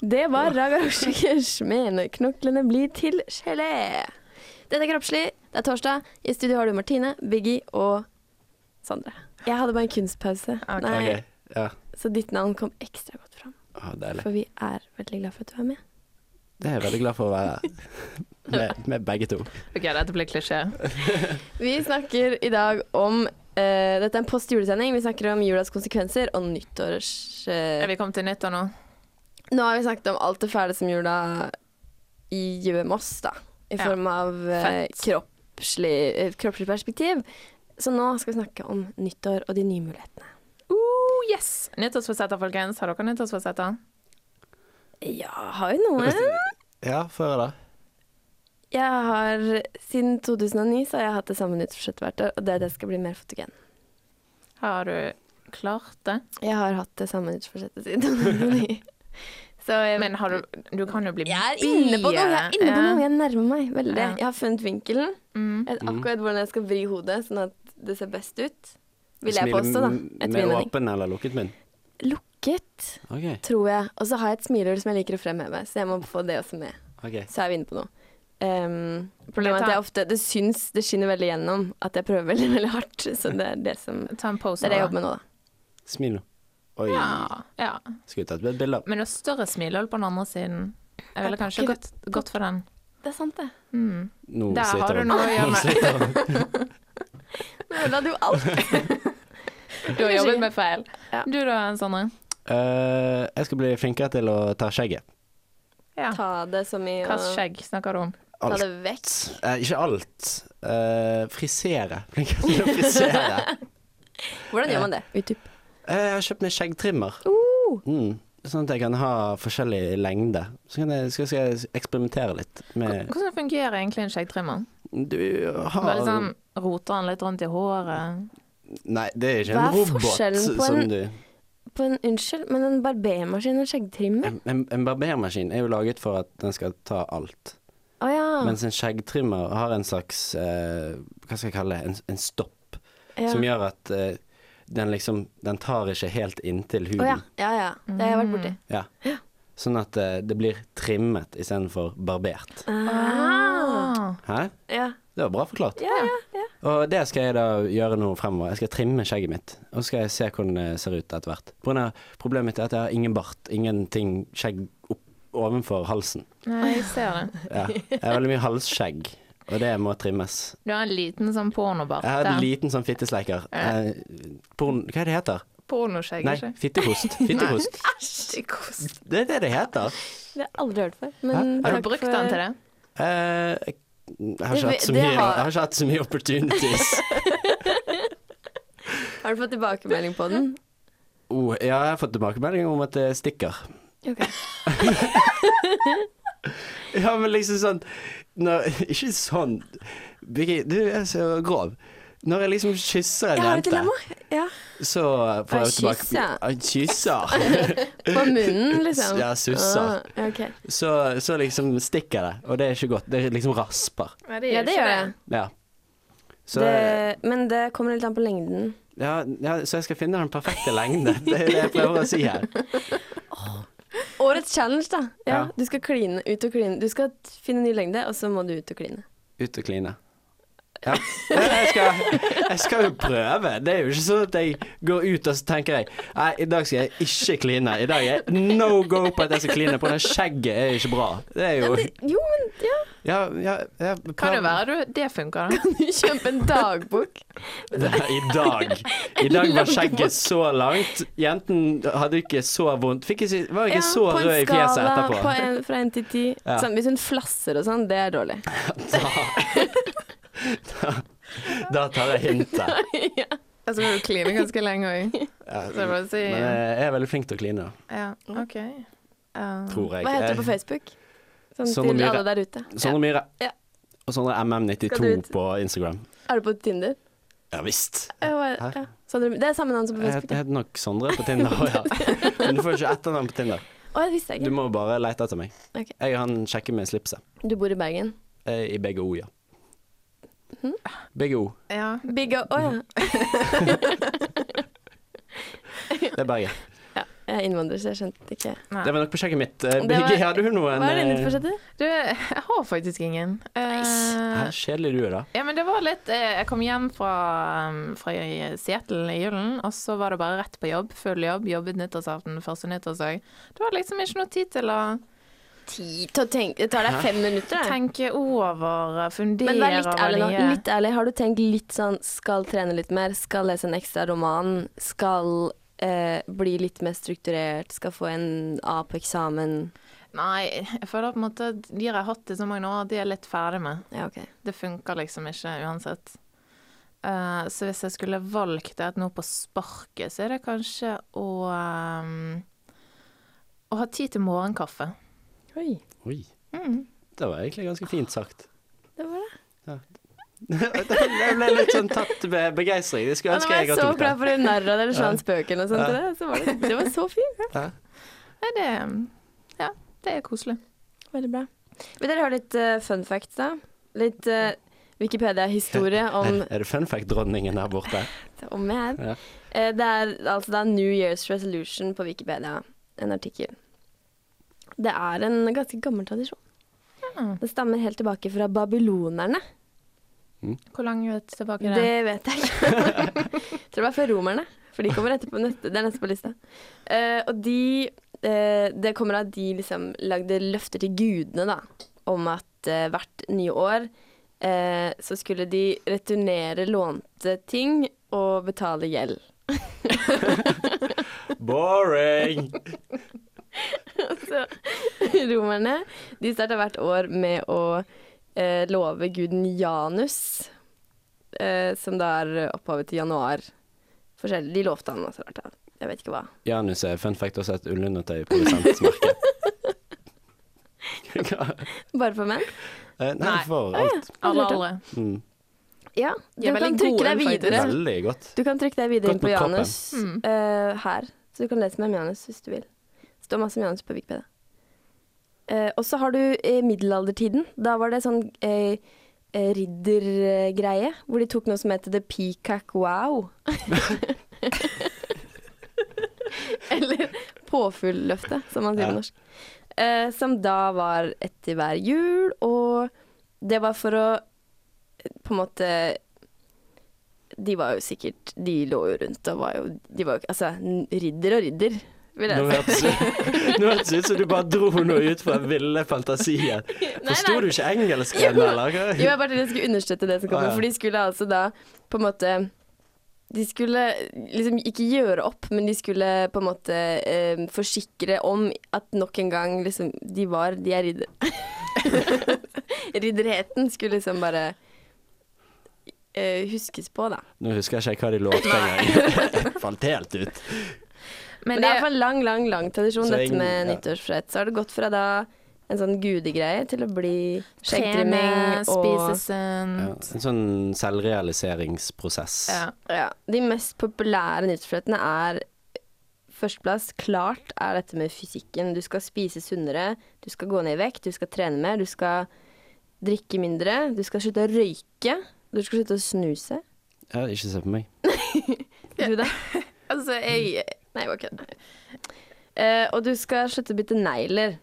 Det var Raga Rockers med 'Når knoklene blir til gelé'. Dette er Kroppslig, det er torsdag. I studio har du Martine, Biggie og Sondre. Jeg hadde bare en kunstpause, *laughs*
Ok.
Nei,
Ok, Ja.
så ditt navn kom ekstra godt fram.
Å, deilig.
For vi er veldig glad for at du er med.
Det er jeg veldig glad for å være med, med begge to.
OK, dette blir klisjé.
Eh. Vi snakker i dag om eh, Dette er en post julesending. Vi snakker om julas konsekvenser og nyttårs eh,
Er vi kommet til nyttår nå?
Nå har vi snakket om alt det fæle som jula i- gjør med oss, da. I
Ja.
form av eh,
Fett.
kroppslig, eh, kroppslig perspektiv. Så nå skal vi snakke om nyttår og de nye mulighetene.
Oh, yes! Nyttårsforsetter, folkens. Har dere nyttårsforsetter?
Ja, har vi noen?
Ja, før da.
Jeg har, Siden 2009 så har jeg hatt det samme nyttårsforsettet hvert år, og det er at jeg skal bli mer fotogen.
Har du klart det?
Jeg har hatt det samme nyttårsforsettet
*laughs*
siden 2009. Så jeg,
Men har du Du kan jo bli
Eh, jeg er inne på noe, jeg er inne på noe, jeg nærmer meg veldig.
Ja.
Jeg har funnet vinkelen.
Mm.
Jeg vet
Mm.
akkurat hvordan jeg skal vri hodet sånn at det ser best ut. Vil jeg påstå, da. Etter min
Med
mening.
åpen eller lukket munn?
Lukket,
OK.
tror jeg. Og så har jeg et smilehull som jeg liker å fremheve, så jeg må få det også med.
ok.
Så er vi inne på noe. Ehm, problemet er at jeg ofte, det syns, det skinner veldig gjennom at jeg prøver veldig, veldig hardt. Så det er det som
Ta en pose
Det er det jeg
nå.
jobber med nå, da.
Smil nå. Oi.
Ja, ja.
Skulle tatt et bilde.
Men det er større smilehull på den andre siden. Jeg ville kanskje gått, gått for den.
Det er sant, det.
Mm.
Nå
Der har
sliter
du
han.
noe å gjøre
Nå
med.
*laughs* sliter han.
Nå ødela du alt.
Du har jobbet med feil.
Ja.
Du da, Sondre?
Eh, jeg skal bli flinkere til å ta skjegget.
Ja.
Ta det som i
Hva slags skjegg snakker du om?
Ta
Alt.
det vekk.
Eh, ikke alt. Eh, frisere. Flinkere til
*laughs*
å frisere.
Hvordan gjør man det? YouTube. Uh!
Eh, Jeg har kjøpt meg skjeggtrimmer. Mm. Sånn at jeg kan ha forskjellig lengde. Så kan jeg, skal, skal jeg eksperimentere litt med
Hvordan fungerer egentlig en skjeggtrimmer?
Du har
Bare sånn, roter han litt rundt i håret?
Nei, det er ikke
Hva
en
er
robot
forskjellen på
som
en-
du
På en, unnskyld, men en barbermaskin og en skjeggtrimmer?
En, en, en barbermaskin er jo laget for at den skal ta alt.
Å ja.
Mens en skjeggtrimmer har en slags eh, Hva skal jeg kalle det? En, en stopp.
ja.
Som gjør at eh, den liksom Den tar ikke helt inntil
Å ja.
huden.
ja, ja. Det har jeg vært borti.
ja. Sånn at eh, det blir trimmet istedenfor barbert.
Ah.
Hæ?
Ja.
Det var bra forklart.
Ja, ja, ja.
Og det skal jeg da gjøre nå fremover. Jeg skal trimme skjegget mitt, og så skal jeg se hvordan det ser ut etter hvert. På grunn av Problemet mitt er at jeg har ingen bart, ingenting skjegg opp, ovenfor halsen.
Nei, jeg ser det.
Ja. Jeg har veldig mye halsskjegg, og det må trimmes.
Du har en liten sånn pornobart.
Jeg har
der.
en liten sånn fittesleiker. Eh, porn... Hva er det heter?
Pornoskjegg,
Nei,
ikke?
*laughs*
fittekost. Fittekost.
Æsj, kost.
Det er det det heter.
Det har jeg aldri hørt før. Men
Hæ?
Har
takk
du brukt
for-
den til det?
Eh, jeg- jeg har
Det-
ikke hatt så
det
mye, jeg
har-
har ikke hatt så mye
*laughs*
opportunities.
Har du fått tilbakemelding på den?
Oh, ja, jeg har fått tilbakemeldinger om at det stikker.
Ok.
Ja, men liksom sånn når, *laughs* Ikke sånn Birgit, du er så grov. Når jeg liksom kysser en
Jeg har et
jente,
dilemma. Ja.
så får jeg
Ja,
tilbake Ja,
*laughs*
Kysser.
På
*laughs*
munnen, liksom.
Ja, susser.
Ah, ja, ok.
Så, så liksom stikker det, og det er ikke godt. Det er liksom rasper.
Ja, det gjør jeg.
Ja. Så,
Det, men det kommer helt an på lengden.
ja, ja, så jeg skal finne den perfekte lengde. Det er det jeg prøver å si her.
Årets challenge, da. Ja,
Ja.
Du skal kline, ut og kline. Du skal finne ny lengde, og så må du ut og kline.
Ut og kline. Ja. Jeg skal, jeg skal jo prøve. Det er jo ikke sånn at jeg går ut og så tenker jeg Nei, i dag skal jeg ikke kline. I dag er no go på at jeg skal kline. På det skjegget er ikke bra. Det er jo
Jo, men ja.
Ja, ja, ja
Kan det
*laughs*
være du Det funker,
*laughs*
da.
Du kjøper en dagbok.
I dag. I dag var skjegget så langt. Jenten hadde ikke så vondt. Fikk ikke, var ikke
Ja,
så
på en
rød i fjeset
skala På
etterpå.
en, fra én til ti.
Ja.
Sånn, hvis hun flasser og sånn, det er dårlig. *laughs*
Da *laughs* tar jeg hintet.
ja.
Jeg skal du kline ganske lenge òg.
Ja,
Så jeg bare
men eh,
sier
jeg er veldig flink til å kline,
Ja, OK. Um,
tror jeg.
Hva heter du på Facebook? Sånn
Sondre
til
Myhre.
alle der ute.
Sondre Myhre.
Ja.
Og Sondre
Skal du
MM92
ut?
på Instagram.
Ja. Er du på Tinder?
Ja visst.
Ja, hva-
Hæ?
ja. Sondre, det er samme navn som på
Jeg het-
Facebook.
jeg
ja.
heter nok Sondre
*laughs*
på Tinder òg, ja. Men du får ikke etternavn på Tinder.
Å, det visste jeg
Du
ikke.
må bare lete etter meg.
Ok.
Jeg og han sjekker med slipset.
Du bor i Bergen.
Eh, I BGO, ja.
Hm?
BGO.
Ja.
Big O, å ja.
Det er Bergen.
ja. Jeg er innvandrer, så jeg skjønte ikke
Det var nok på sjekket mitt. Eh,
Det var-
BG, hadde du noen
Hva er
eh,
dine forsetter?
Du, jeg har faktisk ingen. Eh,
Hæ, kjedelig du er, da.
ja, men det var litt eh, Jeg kom hjem fra, um, fra Seattle i julen, og så var det bare rett på jobb. Full jobb. Jobbet nyttårsaften, første nyttårsdag. Det var liksom ikke noe tid til å
Ti til å tenke Det tar deg fem minutter, det.
tenke over, eh, fundere
Men vær litt
over
ærlig nå.
nye-
Litt ærlig. Har du tenkt litt sånn skal trene litt mer, skal lese en ekstra roman, skal eh, bli litt mer strukturert, skal få en A på eksamen
Nei, jeg føler på en måte at de jeg har hatt i så mange år, de er jeg litt ferdig med.
Ja, OK.
Det funker liksom ikke uansett. Eh, så hvis jeg skulle valgt et nå på sparket, så er det kanskje å ehm, Å ha tid til morgenkaffe.
Oi.
Oi.
Mm.
Det var egentlig ganske fint sagt.
Det var det.
*laughs* Jeg ble litt sånn tatt med begeistring. Det skulle
Ja, nå
ønske
var jeg
jeg jeg
så
tok
klar
det.
for å narre deg eller slå en spøk eller noe sånt.
Ja.
til Det, så var det, det var så fint.
Hæ?
Nei, det Ja, det er koselig.
Veldig bra. Vil dere høre litt eh, fun facts, da? Litt eh, Wikipedia-historie om,
Er det fun fact-dronningen der borte?
om meg.
Ja.
Eh, det er altså det er New Year's Resolution på Wikipedia, en artikkel. Det er en ganske gammel tradisjon.
Ja.
Det stammer helt tilbake fra babylonerne.
Hvor langt tilbake er det?
Det vet jeg ikke. *laughs* Tror det var fra romerne. For de kommer etterpå. Neste, det er neste på lista. Eh, og de eh, Det kommer av at de liksom lagde løfter til gudene, da. Om at eh, hvert nye år eh, så skulle de returnere lånte ting og betale gjeld.
Boring!
Så *laughs* romerne de starta hvert år med å eh, love guden Janus, eh, som da er opphavet til januar. Forskjellig. De lovte han også rart. da. Jeg vet ikke hva.
Janus er fun fact også et ullundertøyprodusentmerke.
*laughs* Bare for menn?
Nei, Eh, Nei,
Nei.
for alt.
Alle aldre.
Mm.
Ja. Du
De er
kan
veldig
trykke
gode,
deg
faktisk.
videre.
Veldig godt.
Du kan trykke deg videre
Godt
inn på
mot kroppen.
Janus
Mm.
eh, her. Så du kan lese mer om Janus hvis du vil. Det står masse om Janus på Wikipedia. Eh, og så har du eh, middelaldertiden. Da var det sånn eh, eh, riddergreie, hvor de tok noe som heter The Peacock Wow. Eller Påfugløftet, som man sier
Ja.
på norsk. Eh, som da var etter hver jul, og det var for å på en måte De var jo sikkert De lå jo rundt og var jo de var jo, ikke- Altså, n- ridder og ridder, vil
Nå
jeg si.
hørtes nå hørtes det ut som du bare dro noe ut fra ville fantasier. Forsto du ikke engelsken, eller?
Jo, jeg bare tenkte jeg skulle understøtte det som
Ah,
kommer,
ja.
for de skulle altså da på en måte de skulle liksom ikke gjøre opp, men de skulle på en måte eh, forsikre om at nok en gang liksom De var De er ridder. *laughs* Ridderheten skulle liksom bare eh, huskes på, da.
Nå husker jeg ikke hva de lovte
*laughs*
engang. Falt helt ut.
Men
Men
det er i
det,
hvert fall lang, lang lang tradisjon,
Så
dette
ingen-
med
ja.
nyttårsforsett. Så har det gått fra da en sånn gudegreie til å bli
trene,
skjeggtrimming
spise
og
Ja,
sunt.
en sånn selvrealiseringsprosess.
Ja.
ja, De mest populære nyttårsforsettene er Førsteplass, klart, er dette med fysikken. Du skal spise sunnere, du skal gå ned i vekt, du skal trene mer, du skal drikke mindre, du skal slutte å røyke, du skal slutte å snuse.
Ja, ikke se på meg.
Du da? altså, jeg Nei, jeg var ikke det. Eh, og du skal slutte å bite negler.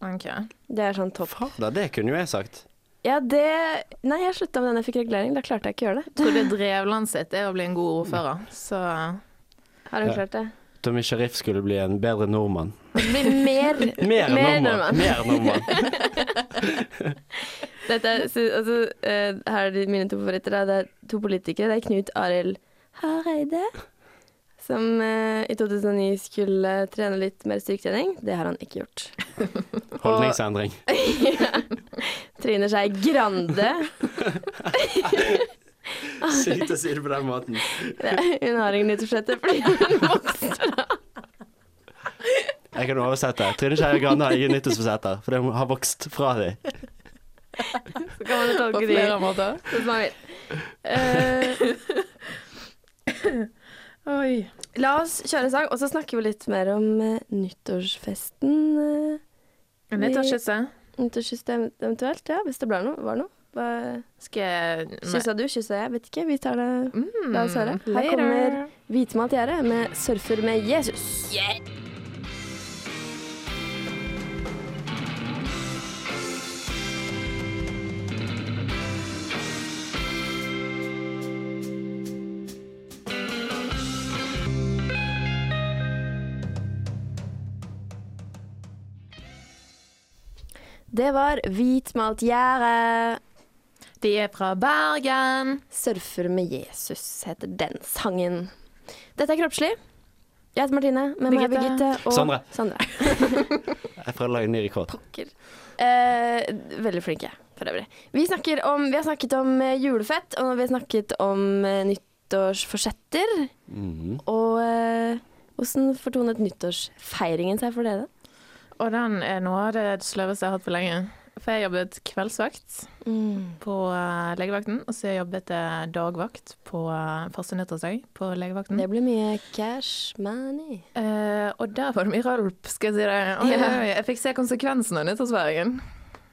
Ok.
Det er sånn topp.
Da, det kunne jo jeg sagt.
Ja, det Nei, jeg slutta med den jeg fikk regulering. Da klarte jeg ikke å gjøre det.
Trodde Drevland sitt er å bli en god ordfører, så
Har hun
Ja.
klart det?
Tommy Sharif skulle bli en bedre nordmann.
Det blir mer,
Mer enn nordmann. Mer enn nordmann.
Dette er, så, altså, eh, her er de mine to favoritter. Da. Det er to politikere. Det er Knut Arild Hareide, som eh, i 2009 skulle trene litt mer styrketrening. Det har han ikke gjort.
Holdningsendring.
Trine Skei Grande.
Sykt å si det på den måten.
Hun har ingen nyttårsforsetter fordi
*laughs*
hun vokser.
Jeg kan oversette. Trine Skei Grande har ingen nyttårsforsetter, for det har vokst fra dem.
Så kan man jo
På
tolke de
flere måter.
som man vil. Eh,
Oi.
La oss kjøre en sang, og så snakker vi litt mer om eh, nyttårsfesten. eh,
En nyttårskysse.
Nyttårssystemet eventuelt, ja, hvis det ble noe, var noe. Hva-
Skal jeg
Kyssa du, kyssa jeg, vet ikke. Vi tar det
Mm,
La oss høre. Her
later.
kommer hvitmalt gjerde med 'Surfer med Jesus'. Det var hvitmalt gjerde.
De er fra Bergen.
'Surfer med Jesus' heter den sangen. Dette er Kroppslig. Jeg heter Martine, med meg er
Birgitte.
Birgitte og
Sondre.
Sondre.
Jeg er fra Lagny Rekord.
Pokker. Eh, veldig flinke, for øvrig. Vi, snakker om, vi har snakket om eh, julefett, og vi har snakket om eh, nyttårsforsetter.
Mhm.
Og eh, hvordan fortonet nyttårsfeiringen seg for dere?
Og den er noe av det sløveste jeg har hatt på lenge. For jeg jobbet kveldsvakt
Mm.
på eh, legevakten, og så jobbet jeg dagvakt på eh, første nyttårsdag på legevakten.
Det blir mye cash money.
Eh, og der var det mye rølp, skal jeg si det. Oi,
Ja.
oi, jeg fikk se konsekvensene av nyttårsfeiringen.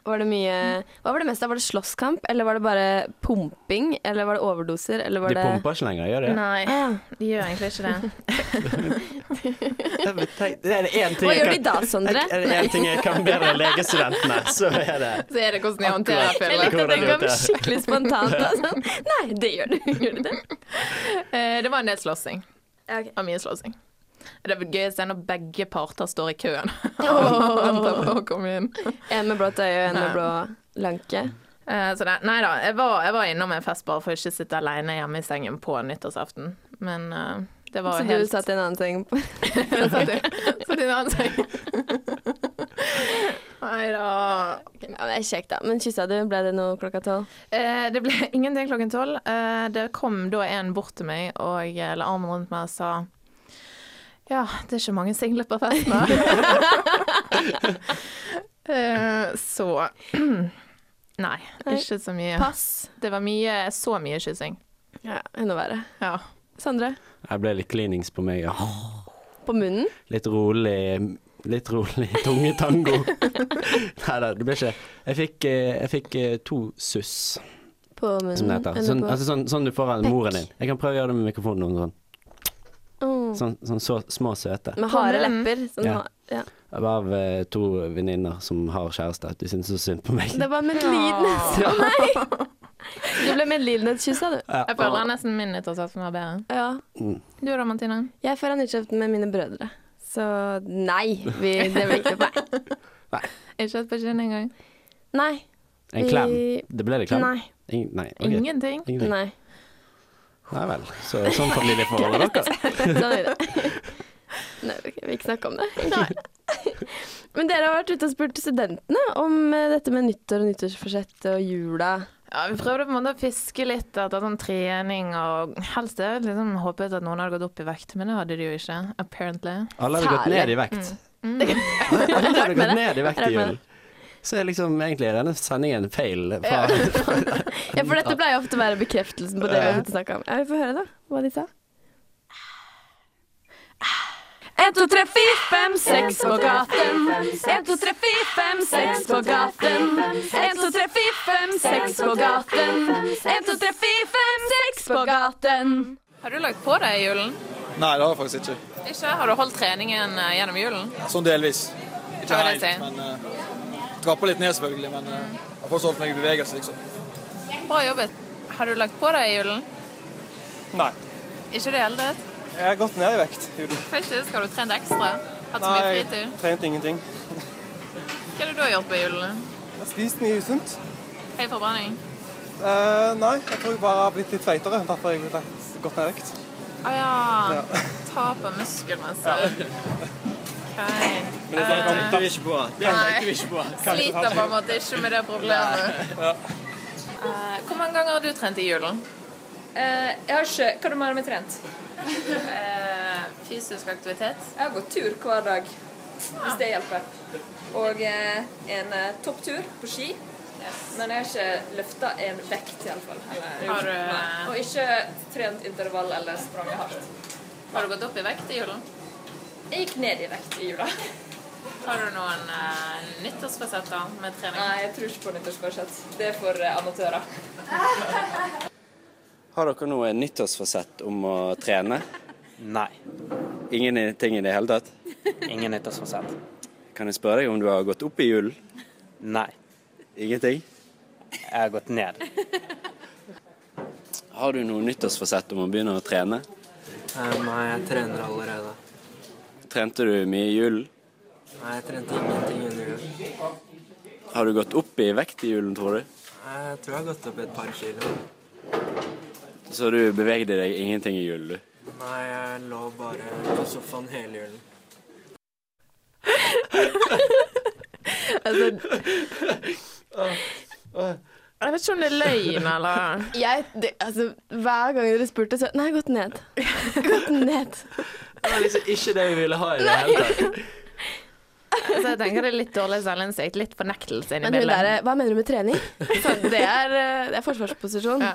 Var det mye, hva var det mest av? Var det slåsskamp, eller var det bare pumping? Eller var det overdoser? Eller var
De
det
pumper ikke lenger, gjør de?
Nei,
Ah, ja.
de gjør egentlig ikke *laughs* det.
Jeg vet- tenk- Det er det én ting
Hva
jeg
gjør de
kan-
da, Sondre?
Er det én ting jeg kan bedre enn legestudentene, så er det
Så er det hvordan de
håndterer
håndterer
Jeg likte at den
Hvordan
kom
gjør det?
altså. skikkelig spontant. da, Sånn. Nei, det gjør du. Gjør du det?
Eh, det var en del slåssing.
Ja, ok.
og mye slåssing. Det er gøyest er når begge parter står i køen *laughs* og venter
Åh.
på å komme inn.
En med blått øye og en med
Ja.
blå lanke.
Eh, Så det, nei da, jeg var, jeg var innom en fest bare for å ikke sitte alene hjemme i sengen på nyttårsaften. Men eh, det var
Så
helt
du satt sånn i en annen seng.
Jeg satt i- *laughs* satt i en
*laughs*
annen seng. Nei da.
Ja, men det er kjekt, da. Men kyssa du? Ble det noe klokka tolv?
Eh, Det ble ingenting klokken tolv. Eh, Det kom da en bort til meg og eh, la armen rundt meg og sa Ja, det er ikke mange single på festen.
*laughs*
da." Eh, Så *clears throat* Nei, ikke så mye.
Pass.
Det var mye, så mye kyssing.
Ja, enda verre.
Ja.
Sondre?
Jeg ble litt klinings på meg. Ja.
På munnen?
Litt rolig Litt rolig tungetango. Nei da, det ble ikke Jeg fikk, eh, jeg fikk eh, to suss,
På munnen.
som det heter.
eller
Sånn,
på-
altså, sånn, sånn du får av
Pekk.
moren din. Jeg kan prøve å gjøre det med mikrofonen. noen Sånn,
Åh.
sånn, sånn så små søte.
Mm. Med harde
munnen.
lepper. Sånn,
Ja.
ha- ja.
Av eh, to venninner som har kjæreste. De syns så synd på meg.
Det var medlidende. Å nei! Du ble medlidenhetskyssa, du.
Ja.
Jeg føler nesten min nyttårsaften var bedre.
Ja.
Mm.
Du da, Martine?
Jeg feirer nyttårsaften med mine brødre. Så nei, vi, det ble ikke meg.
Ikke et bekymring engang?
Nei.
*laughs* En
vi-
klem. Det ble det klem?
Nei.
Ing- nei. ok.
Ingenting.
Ingenting.
Nei.
Nei vel. Så, sånn
*laughs*
familieforholdet deres.
Sånn er det. Nei, vi vil ikke snakke om det. Men dere har vært ute og spurt studentene om eh, dette med nyttår og nyttårsforsett og jula.
Ja, Vi prøvde på en måte å fiske litt etter sånn trening og helst jeg liksom håpet at noen hadde gått opp i vekt, men det hadde de jo ikke. Apparently.
Alle hadde gått
Særlig.
ned i vekt. Alle
*laughs* Rart
hadde
med det.
gått ned i vekt i
Rart med
julen. Så er liksom egentlig denne sendingen feil fra
Ja, for dette pleier ofte å være bekreftelsen på det vi har snakka om. Ja, vi får høre da, hva de sa. 1, 2, 3, 4, 5, 6 på gaten. 1, 2, 3, 4, 5, 6 på gaten. 1, 2, 3, 4, 5, 6 på gaten. 1, 2, 3, 4, 5, 6 på gaten.
Har du lagt på deg i julen?
Nei, det har jeg faktisk ikke.
Ikke? Har du holdt treningen eh, gjennom julen?
Sånn delvis. Ikke
Hva vil jeg si?
men uh, Trapper litt ned, selvfølgelig, men eh, jeg har fortsatt holdt meg i bevegelse, liksom.
Bra jobbet. Har du lagt på deg i julen?
Nei.
Ikke det hele tatt?
Jeg har gått ned i vekt. Juden.
Faktisk har du trent ekstra. Hatt så mye
Nei,
fritid.
trente ingenting.
Hva har du da gjort på julen?
Jeg har spist mye usunt.
Høy forbrenning?
Eh, nei, jeg tror jeg bare har blitt litt feitere. Derfor har jeg blitt gått ned i vekt.
Å ja. Tap av muskelmasse. Okay.
tenkte vi ikke på. Det
tenkte vi
ikke på.
Sliter på en måte ikke med det problemet. Eh, hvor mange ganger har du trent i julen?
Eh, Jeg har ikke Hva du mener med trent?
Eh, fysisk aktivitet.
Jeg har gått tur hver dag, hvis det hjelper. Og eh, en eh, topptur på ski. Men jeg har ikke løfta en vekt, iallfall.
Har du, eh,
Eh, Og ikke trent intervall eller sprunget hardt.
har du gått opp i vekt i julen?
Jeg gikk ned i vekt i jula.
Har du noen uh, nyttårsfasetter med trening?
Nei, jeg tror ikke på nyttårsforsett. Det er for eh, amatører.
Har dere noe nyttårsforsett om å trene?
Nei,
Ingen i- ting i det hele tatt?
ingen nyttårsforsett.
Kan jeg spørre deg om du har gått opp i julen?
Nei,
Ingenting?
jeg har gått ned.
Har du noe nyttårsforsett om å begynne å trene?
Nei, jeg trener allerede.
Trente du mye i julen?
Nei, jeg trente ingenting under jul.
Har du gått opp i vekt i julen, tror du?
Jeg tror jeg har gått opp et par kilo.
Så du bevegde deg ingenting i julen, du?
Nei, jeg lå bare på sofaen hele julen.
Jeg vet ikke om det er løgn, eller
Jeg, det, altså, hver gang dere spurte, så Nei, gått ned. Gått
*laughs*
ned.
Det var liksom ikke det vi ville ha i det hele tatt.
Så Altså, jeg tenker det er litt dårlig selvinnsikt. Litt fornektelse inni
Men hun
bildet.
der, hva mener du med trening? Så det, er, eh, det er forsvarsposisjon.
Ja.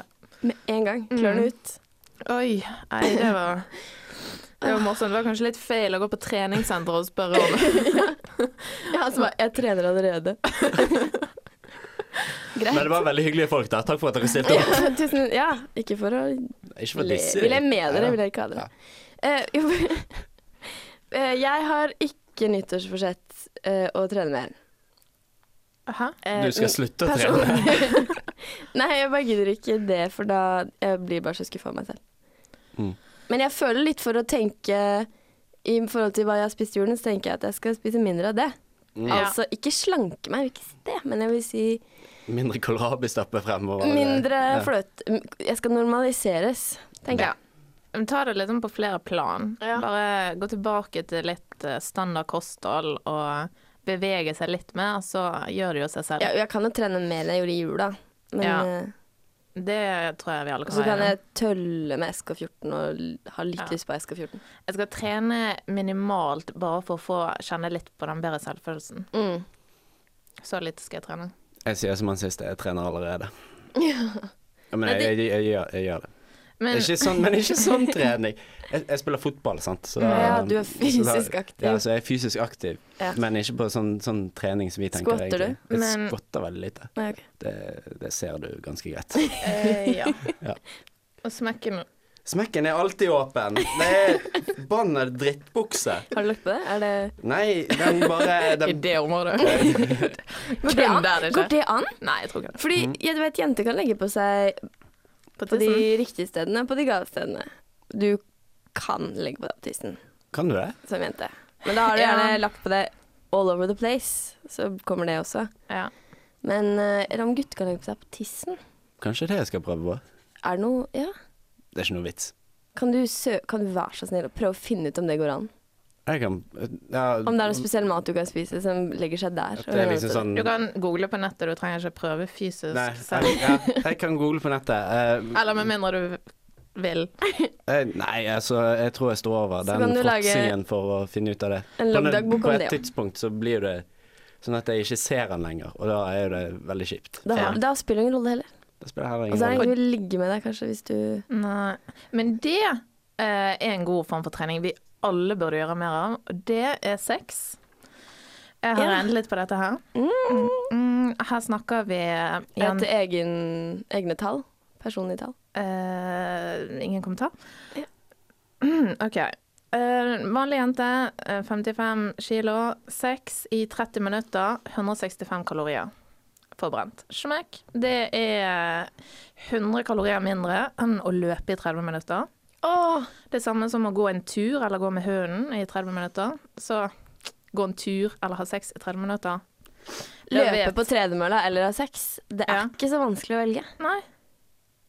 Med en
Mm.
gang. Klørne ut.
Oi. Nei, det var det var morsomt. Det var kanskje litt feil å gå på treningssenter og spørre om
Ja, altså, bare, jeg trener
*laughs*
allerede.
Men det
Greit.
var veldig hyggelige folk, da. Takk for at dere stilte opp.
Ja, *laughs* tusen, ja, ikke for å le.
Ikke for å disse.
Vil jeg med dere,
Ja.
vil jeg ikke ha dere. Eh, jo, *laughs* eh, jeg har ikke nyttårsforsett eh, å trene mer.
Hæ?
Eh,
Du skal slutte å
person-
trene.
*laughs* Nei, jeg bare gidder ikke det, for da jeg blir bare så skuffa av meg selv.
Mm.
Men jeg føler litt for å tenke I forhold til hva jeg har spist i julen, så tenker jeg at jeg skal spise mindre av det.
Ja.
Mm.
Altså ikke slanke meg, jeg vil ikke si det, men jeg vil si
Mindre kålrabistappe fremover.
mindre
Ja.
fløt... Jeg skal normaliseres, tenker
Ja.
jeg.
Men Ta det liksom på flere plan.
Ja.
Bare gå tilbake til litt eh, standard kosthold og bevege seg litt mer, så gjør det jo seg selv.
Ja, jeg kan jo trene mer enn jeg gjorde i jula, men
Ja.
eh,
Det tror jeg vi alle
Og
kan
så
være
kan
enige om.
jeg tølle med SK14 og l- ha litt
Ja.
lyst på SK14.
Jeg skal trene minimalt bare for å få kjenne litt på den bedre selvfølelsen.
Mm.
Så litt skal jeg trene.
Jeg sier som han siste, jeg trener allerede. Ja, Men
Nei,
jeg,
det-
jeg, jeg, jeg, gjør- jeg gjør det.
Men
ikke sånn, men ikke sånn trening. Jeg, jeg spiller fotball, sant. Så,
Ja, du er fysisk
så da-
aktiv.
Ja, så jeg er fysisk aktiv,
Ja.
men ikke på sånn, sånn trening som vi tenker.
Skvatter du?
egentlig. Jeg
Men-
skvatter veldig lite.
Nei, ok.
Det, det ser du ganske greit.
eh, ja.
*laughs* Ja.
Og smekken
Smekken er alltid åpen. Det er banner drittbukse.
Har du lagt på det? Er det
Nei, den bare
i
den,
det
*laughs*
området.
Går det
Kun der
an?
det
Går
skjer.
det an?
Nei, jeg tror ikke det.
Fordi
Mm.
jeg vet jenter kan legge på seg
På
på de
tissen.
riktige stedene, på de gale stedene. Du kan legge på deg på tissen
Kan du det?
som jente. Men da har du
Ja.
gjerne lagt på deg all over the place, så kommer det også.
Ja.
Men eh, eller om gutter kan legge på seg på tissen,
Kanskje det jeg skal prøve på.
er det noe Ja.
Det er ikke noe vits.
Kan du, sø kan du være så snill å prøve å finne ut om det går an?
Jeg kan ja,
Om det er noe spesiell mat du kan spise som legger seg der.
Mm. at det er liksom sånn
Du kan google på nettet, du trenger ikke prøve fysisk
Nei,
selv.
jeg, ja, jeg kan google på nettet. Eh,
Eller med mindre du vil.
eh, nei, altså, jeg tror jeg står over
Så
den
kan du lage
fråtsingen for å finne ut av det.
en
På
loggdagbok om
På
det,
et
ja.
tidspunkt så blir det sånn at jeg ikke ser den lenger, og da er jo det veldig kjipt.
Da,
Ja.
da spiller det ingen rolle heller.
Det spiller heller
Og
ingen
så er det
rolle.
egentlig å ligge med deg, kanskje, hvis du
Nei. Men det eh, er en god form for trening vi alle burde gjøre mer av, og det er sex. Jeg har
Ja.
regnet litt på dette her. Mm, her snakker vi igjen
Etter egen, egne tall. Personlige tall.
Eh, ingen kommentar? Mm, *clears throat* OK. Eh, vanlig jente, eh, 55 kilo, sex i 30 minutter, 165 kalorier forbrent. Smekk. Det er 100 kalorier mindre enn å løpe i 30 minutter. Det samme som å gå en tur eller gå med hunden i 30 minutter. Så gå en tur eller ha sex i 30 minutter. Jeg
Løpe
vet-
på tredemølla eller ha sex. Det er
Ja.
ikke så vanskelig å velge. *laughs*
Nei.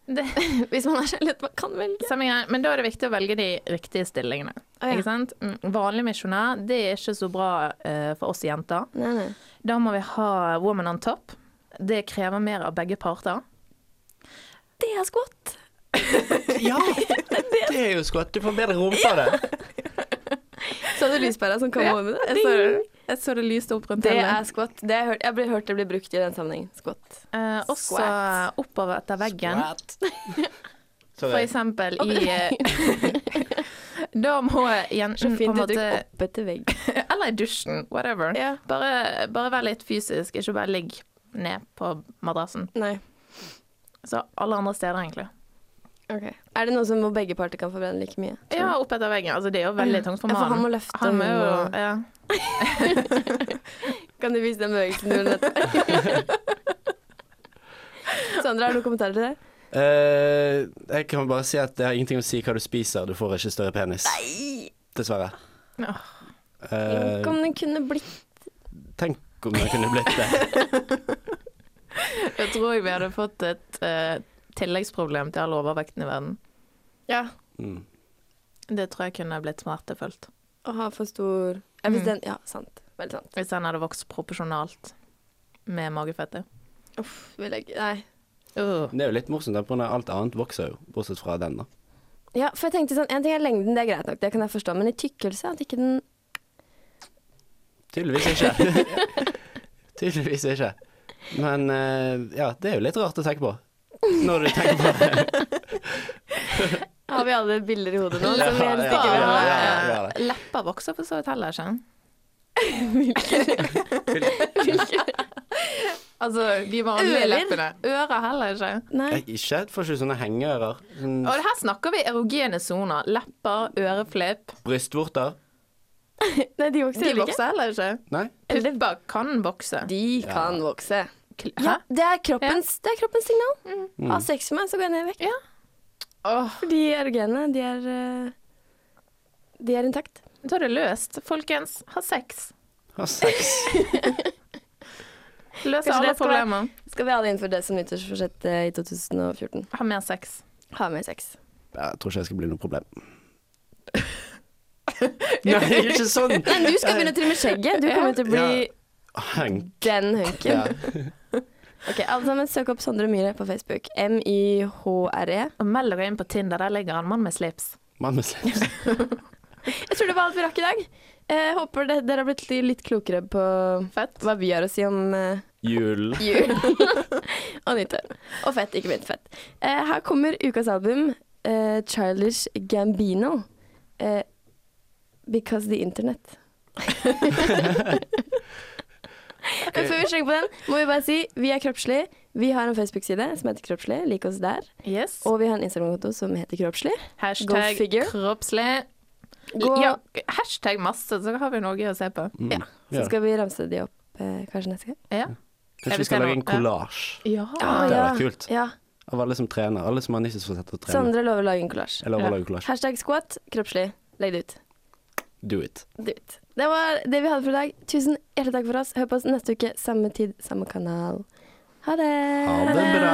Det,
Hvis man er så lett man kan velge.
Samme greie, men da er det viktig å velge de riktige stillingene.
Å, ja.
Ikke sant? Mm, Vanlig misjonær, det er ikke så bra eh, for oss jenter.
Nei, nei.
Da må vi ha woman on top. Det krever mer av begge parter.
Det er squat.
Ja,
*laughs*
det er jo skvatt. Du får bedre rumpe av det.
Så du lyspæra som kom over det?
Jeg så, jeg så det lyste opp rundt
Det
hele.
er squat. Det har jeg, hørt, jeg blir hørt det blir brukt i den sammenhengen. Squat.
Eh, også
Squat.
oppover etter veggen.
*laughs*
For
Sorry.
eksempel i *laughs* eh, Da må
Så
jenten på en
fint uttrykk.
måte
Opp etter vegg.
*laughs* Eller i dusjen, whatever.
Ja.
Bare, bare vær litt fysisk, ikke bare ligg ned på madrassen.
Nei.
Så alle andre steder, egentlig.
Ok. Er det noe som hvor begge parter kan forbrenne like mye?
Ja, opp etter veggen. Altså, det er jo veldig tungt for
Ja, for
mannen.
han må løfte,
Han må
hun
jo,
må-
ja.
*laughs* Kan du vise den bevegelsen du gjorde nettopp? Sondre, har du noen kommentarer til det?
Eh, jeg kan bare si at det har ingenting å si hva du spiser, du får ikke større penis. Dessverre.
Åh.
Eh,
Tenk om den kunne blitt
tenk om det kunne blitt det.
Jeg tror vi hadde fått et eh, tilleggsproblem til all overvekten i verden.
Ja.
Mm.
Det tror jeg kunne blitt smertefullt.
Å ha for stor ja, hvis
Mm.
den, ja, sant. Veldig sant.
Hvis den hadde vokst proporsjonalt med magefettet.
Uff, vil jeg Nei.
Uh.
Det er jo litt morsomt, da, på grunn av alt annet vokser jo, bortsett fra den, da.
Ja, for jeg tenkte sånn, En ting er lengden, det er greit nok, det kan jeg forstå, men i tykkelse at ikke den
Tydeligvis ikke.
*laughs*
Tydeligvis ikke. Men eh, ja, det er jo litt rart å tenke på. Når du tenker på
*laughs*
det.
Har vi alle bilder i hodet nå?
Ja,
som vi helst
ja,
ikke vil
ja,
ha?
ja, ja, ja.
eh, Lepper vokser for så vidt heller, ikke sant? *laughs* Altså, de vanlige
Ører?
leppene. Ører heller ikke.
Nei.
Jeg ikke får ikke sånne hengeører. Sånn
Og her snakker vi erogene soner. Lepper, øreflipp.
brystvorter.
Nei, de vokser
De
heller ikke.
vokser heller ikke.
Nei?
Pupper kan vokse.
De kan vokse.
Kl-
Ja,
Hæ?
Mm. det er kroppens, det er kroppens signal. Ha sex med meg, så går jeg ned vekk.
Ja. Åh,
For de erogenene, de er eh, De er intakt.
da er det løst. Folkens, ha sex.
Ha sex.
Løs
Kanskje
alle
det skal være-
problemer.
Skal vi alle innføre det som nyttårsforsett eh, i 2014?
Ha mer sex.
Ha med sex.
Jeg tror ikke det skal bli noe problem. *laughs* Nei, ikke sånn! Eh,
Nei, du skal begynne å trimme skjegget. *laughs* Du kommer til å bli
Ja. Hank.
den hunken. *laughs* Ok, alle sammen søk opp Sondre Myhre på Facebook. M-Y-H-R-E.
Og meld dere inn på Tinder. Der ligger han mann med slips.
Mann med slips.
Jeg tror det var alt vi rakk i dag. Eh, håper det, dere har blitt li- litt klokere på
Fett.
hva vi har å si om eh,
Jul.
jul og nyttår. Og fett, ikke minst fett. Eh, her kommer ukas album, eh, Childish Gambino. Eh, because the internet. Men før vi slenger på den, må vi bare si vi er kroppslig. Vi har en Facebook-side som heter Kroppslig. Lik oss der.
Yes.
Og vi har en Instagram-konto som heter Kroppslig. Go
Hashtag
figure.
kroppslig.
Gå,
Ja, hashtag masse, så har vi noe å se på.
Mm.
Ja, Så skal vi ramse de opp eh, kanskje neste gang.
Ja.
Kanskje vi skal lage en kollasj.
Ja.
Ah,
Det
ja.
hadde vært kult.
Ja.
Av alle som trener. Alle som har nyttårsforsett å trene.
Sondre lover å lage en kollasj.
Jeg lover
Ja.
å lage kollasj.
Hashtag squat. Kroppslig. Legg det ut.
Do it.
Du vet. Det var det vi hadde for i dag. Tusen hjertelig takk for oss. Hør på oss neste uke, samme tid, samme kanal. Ha det.
Ha det bra.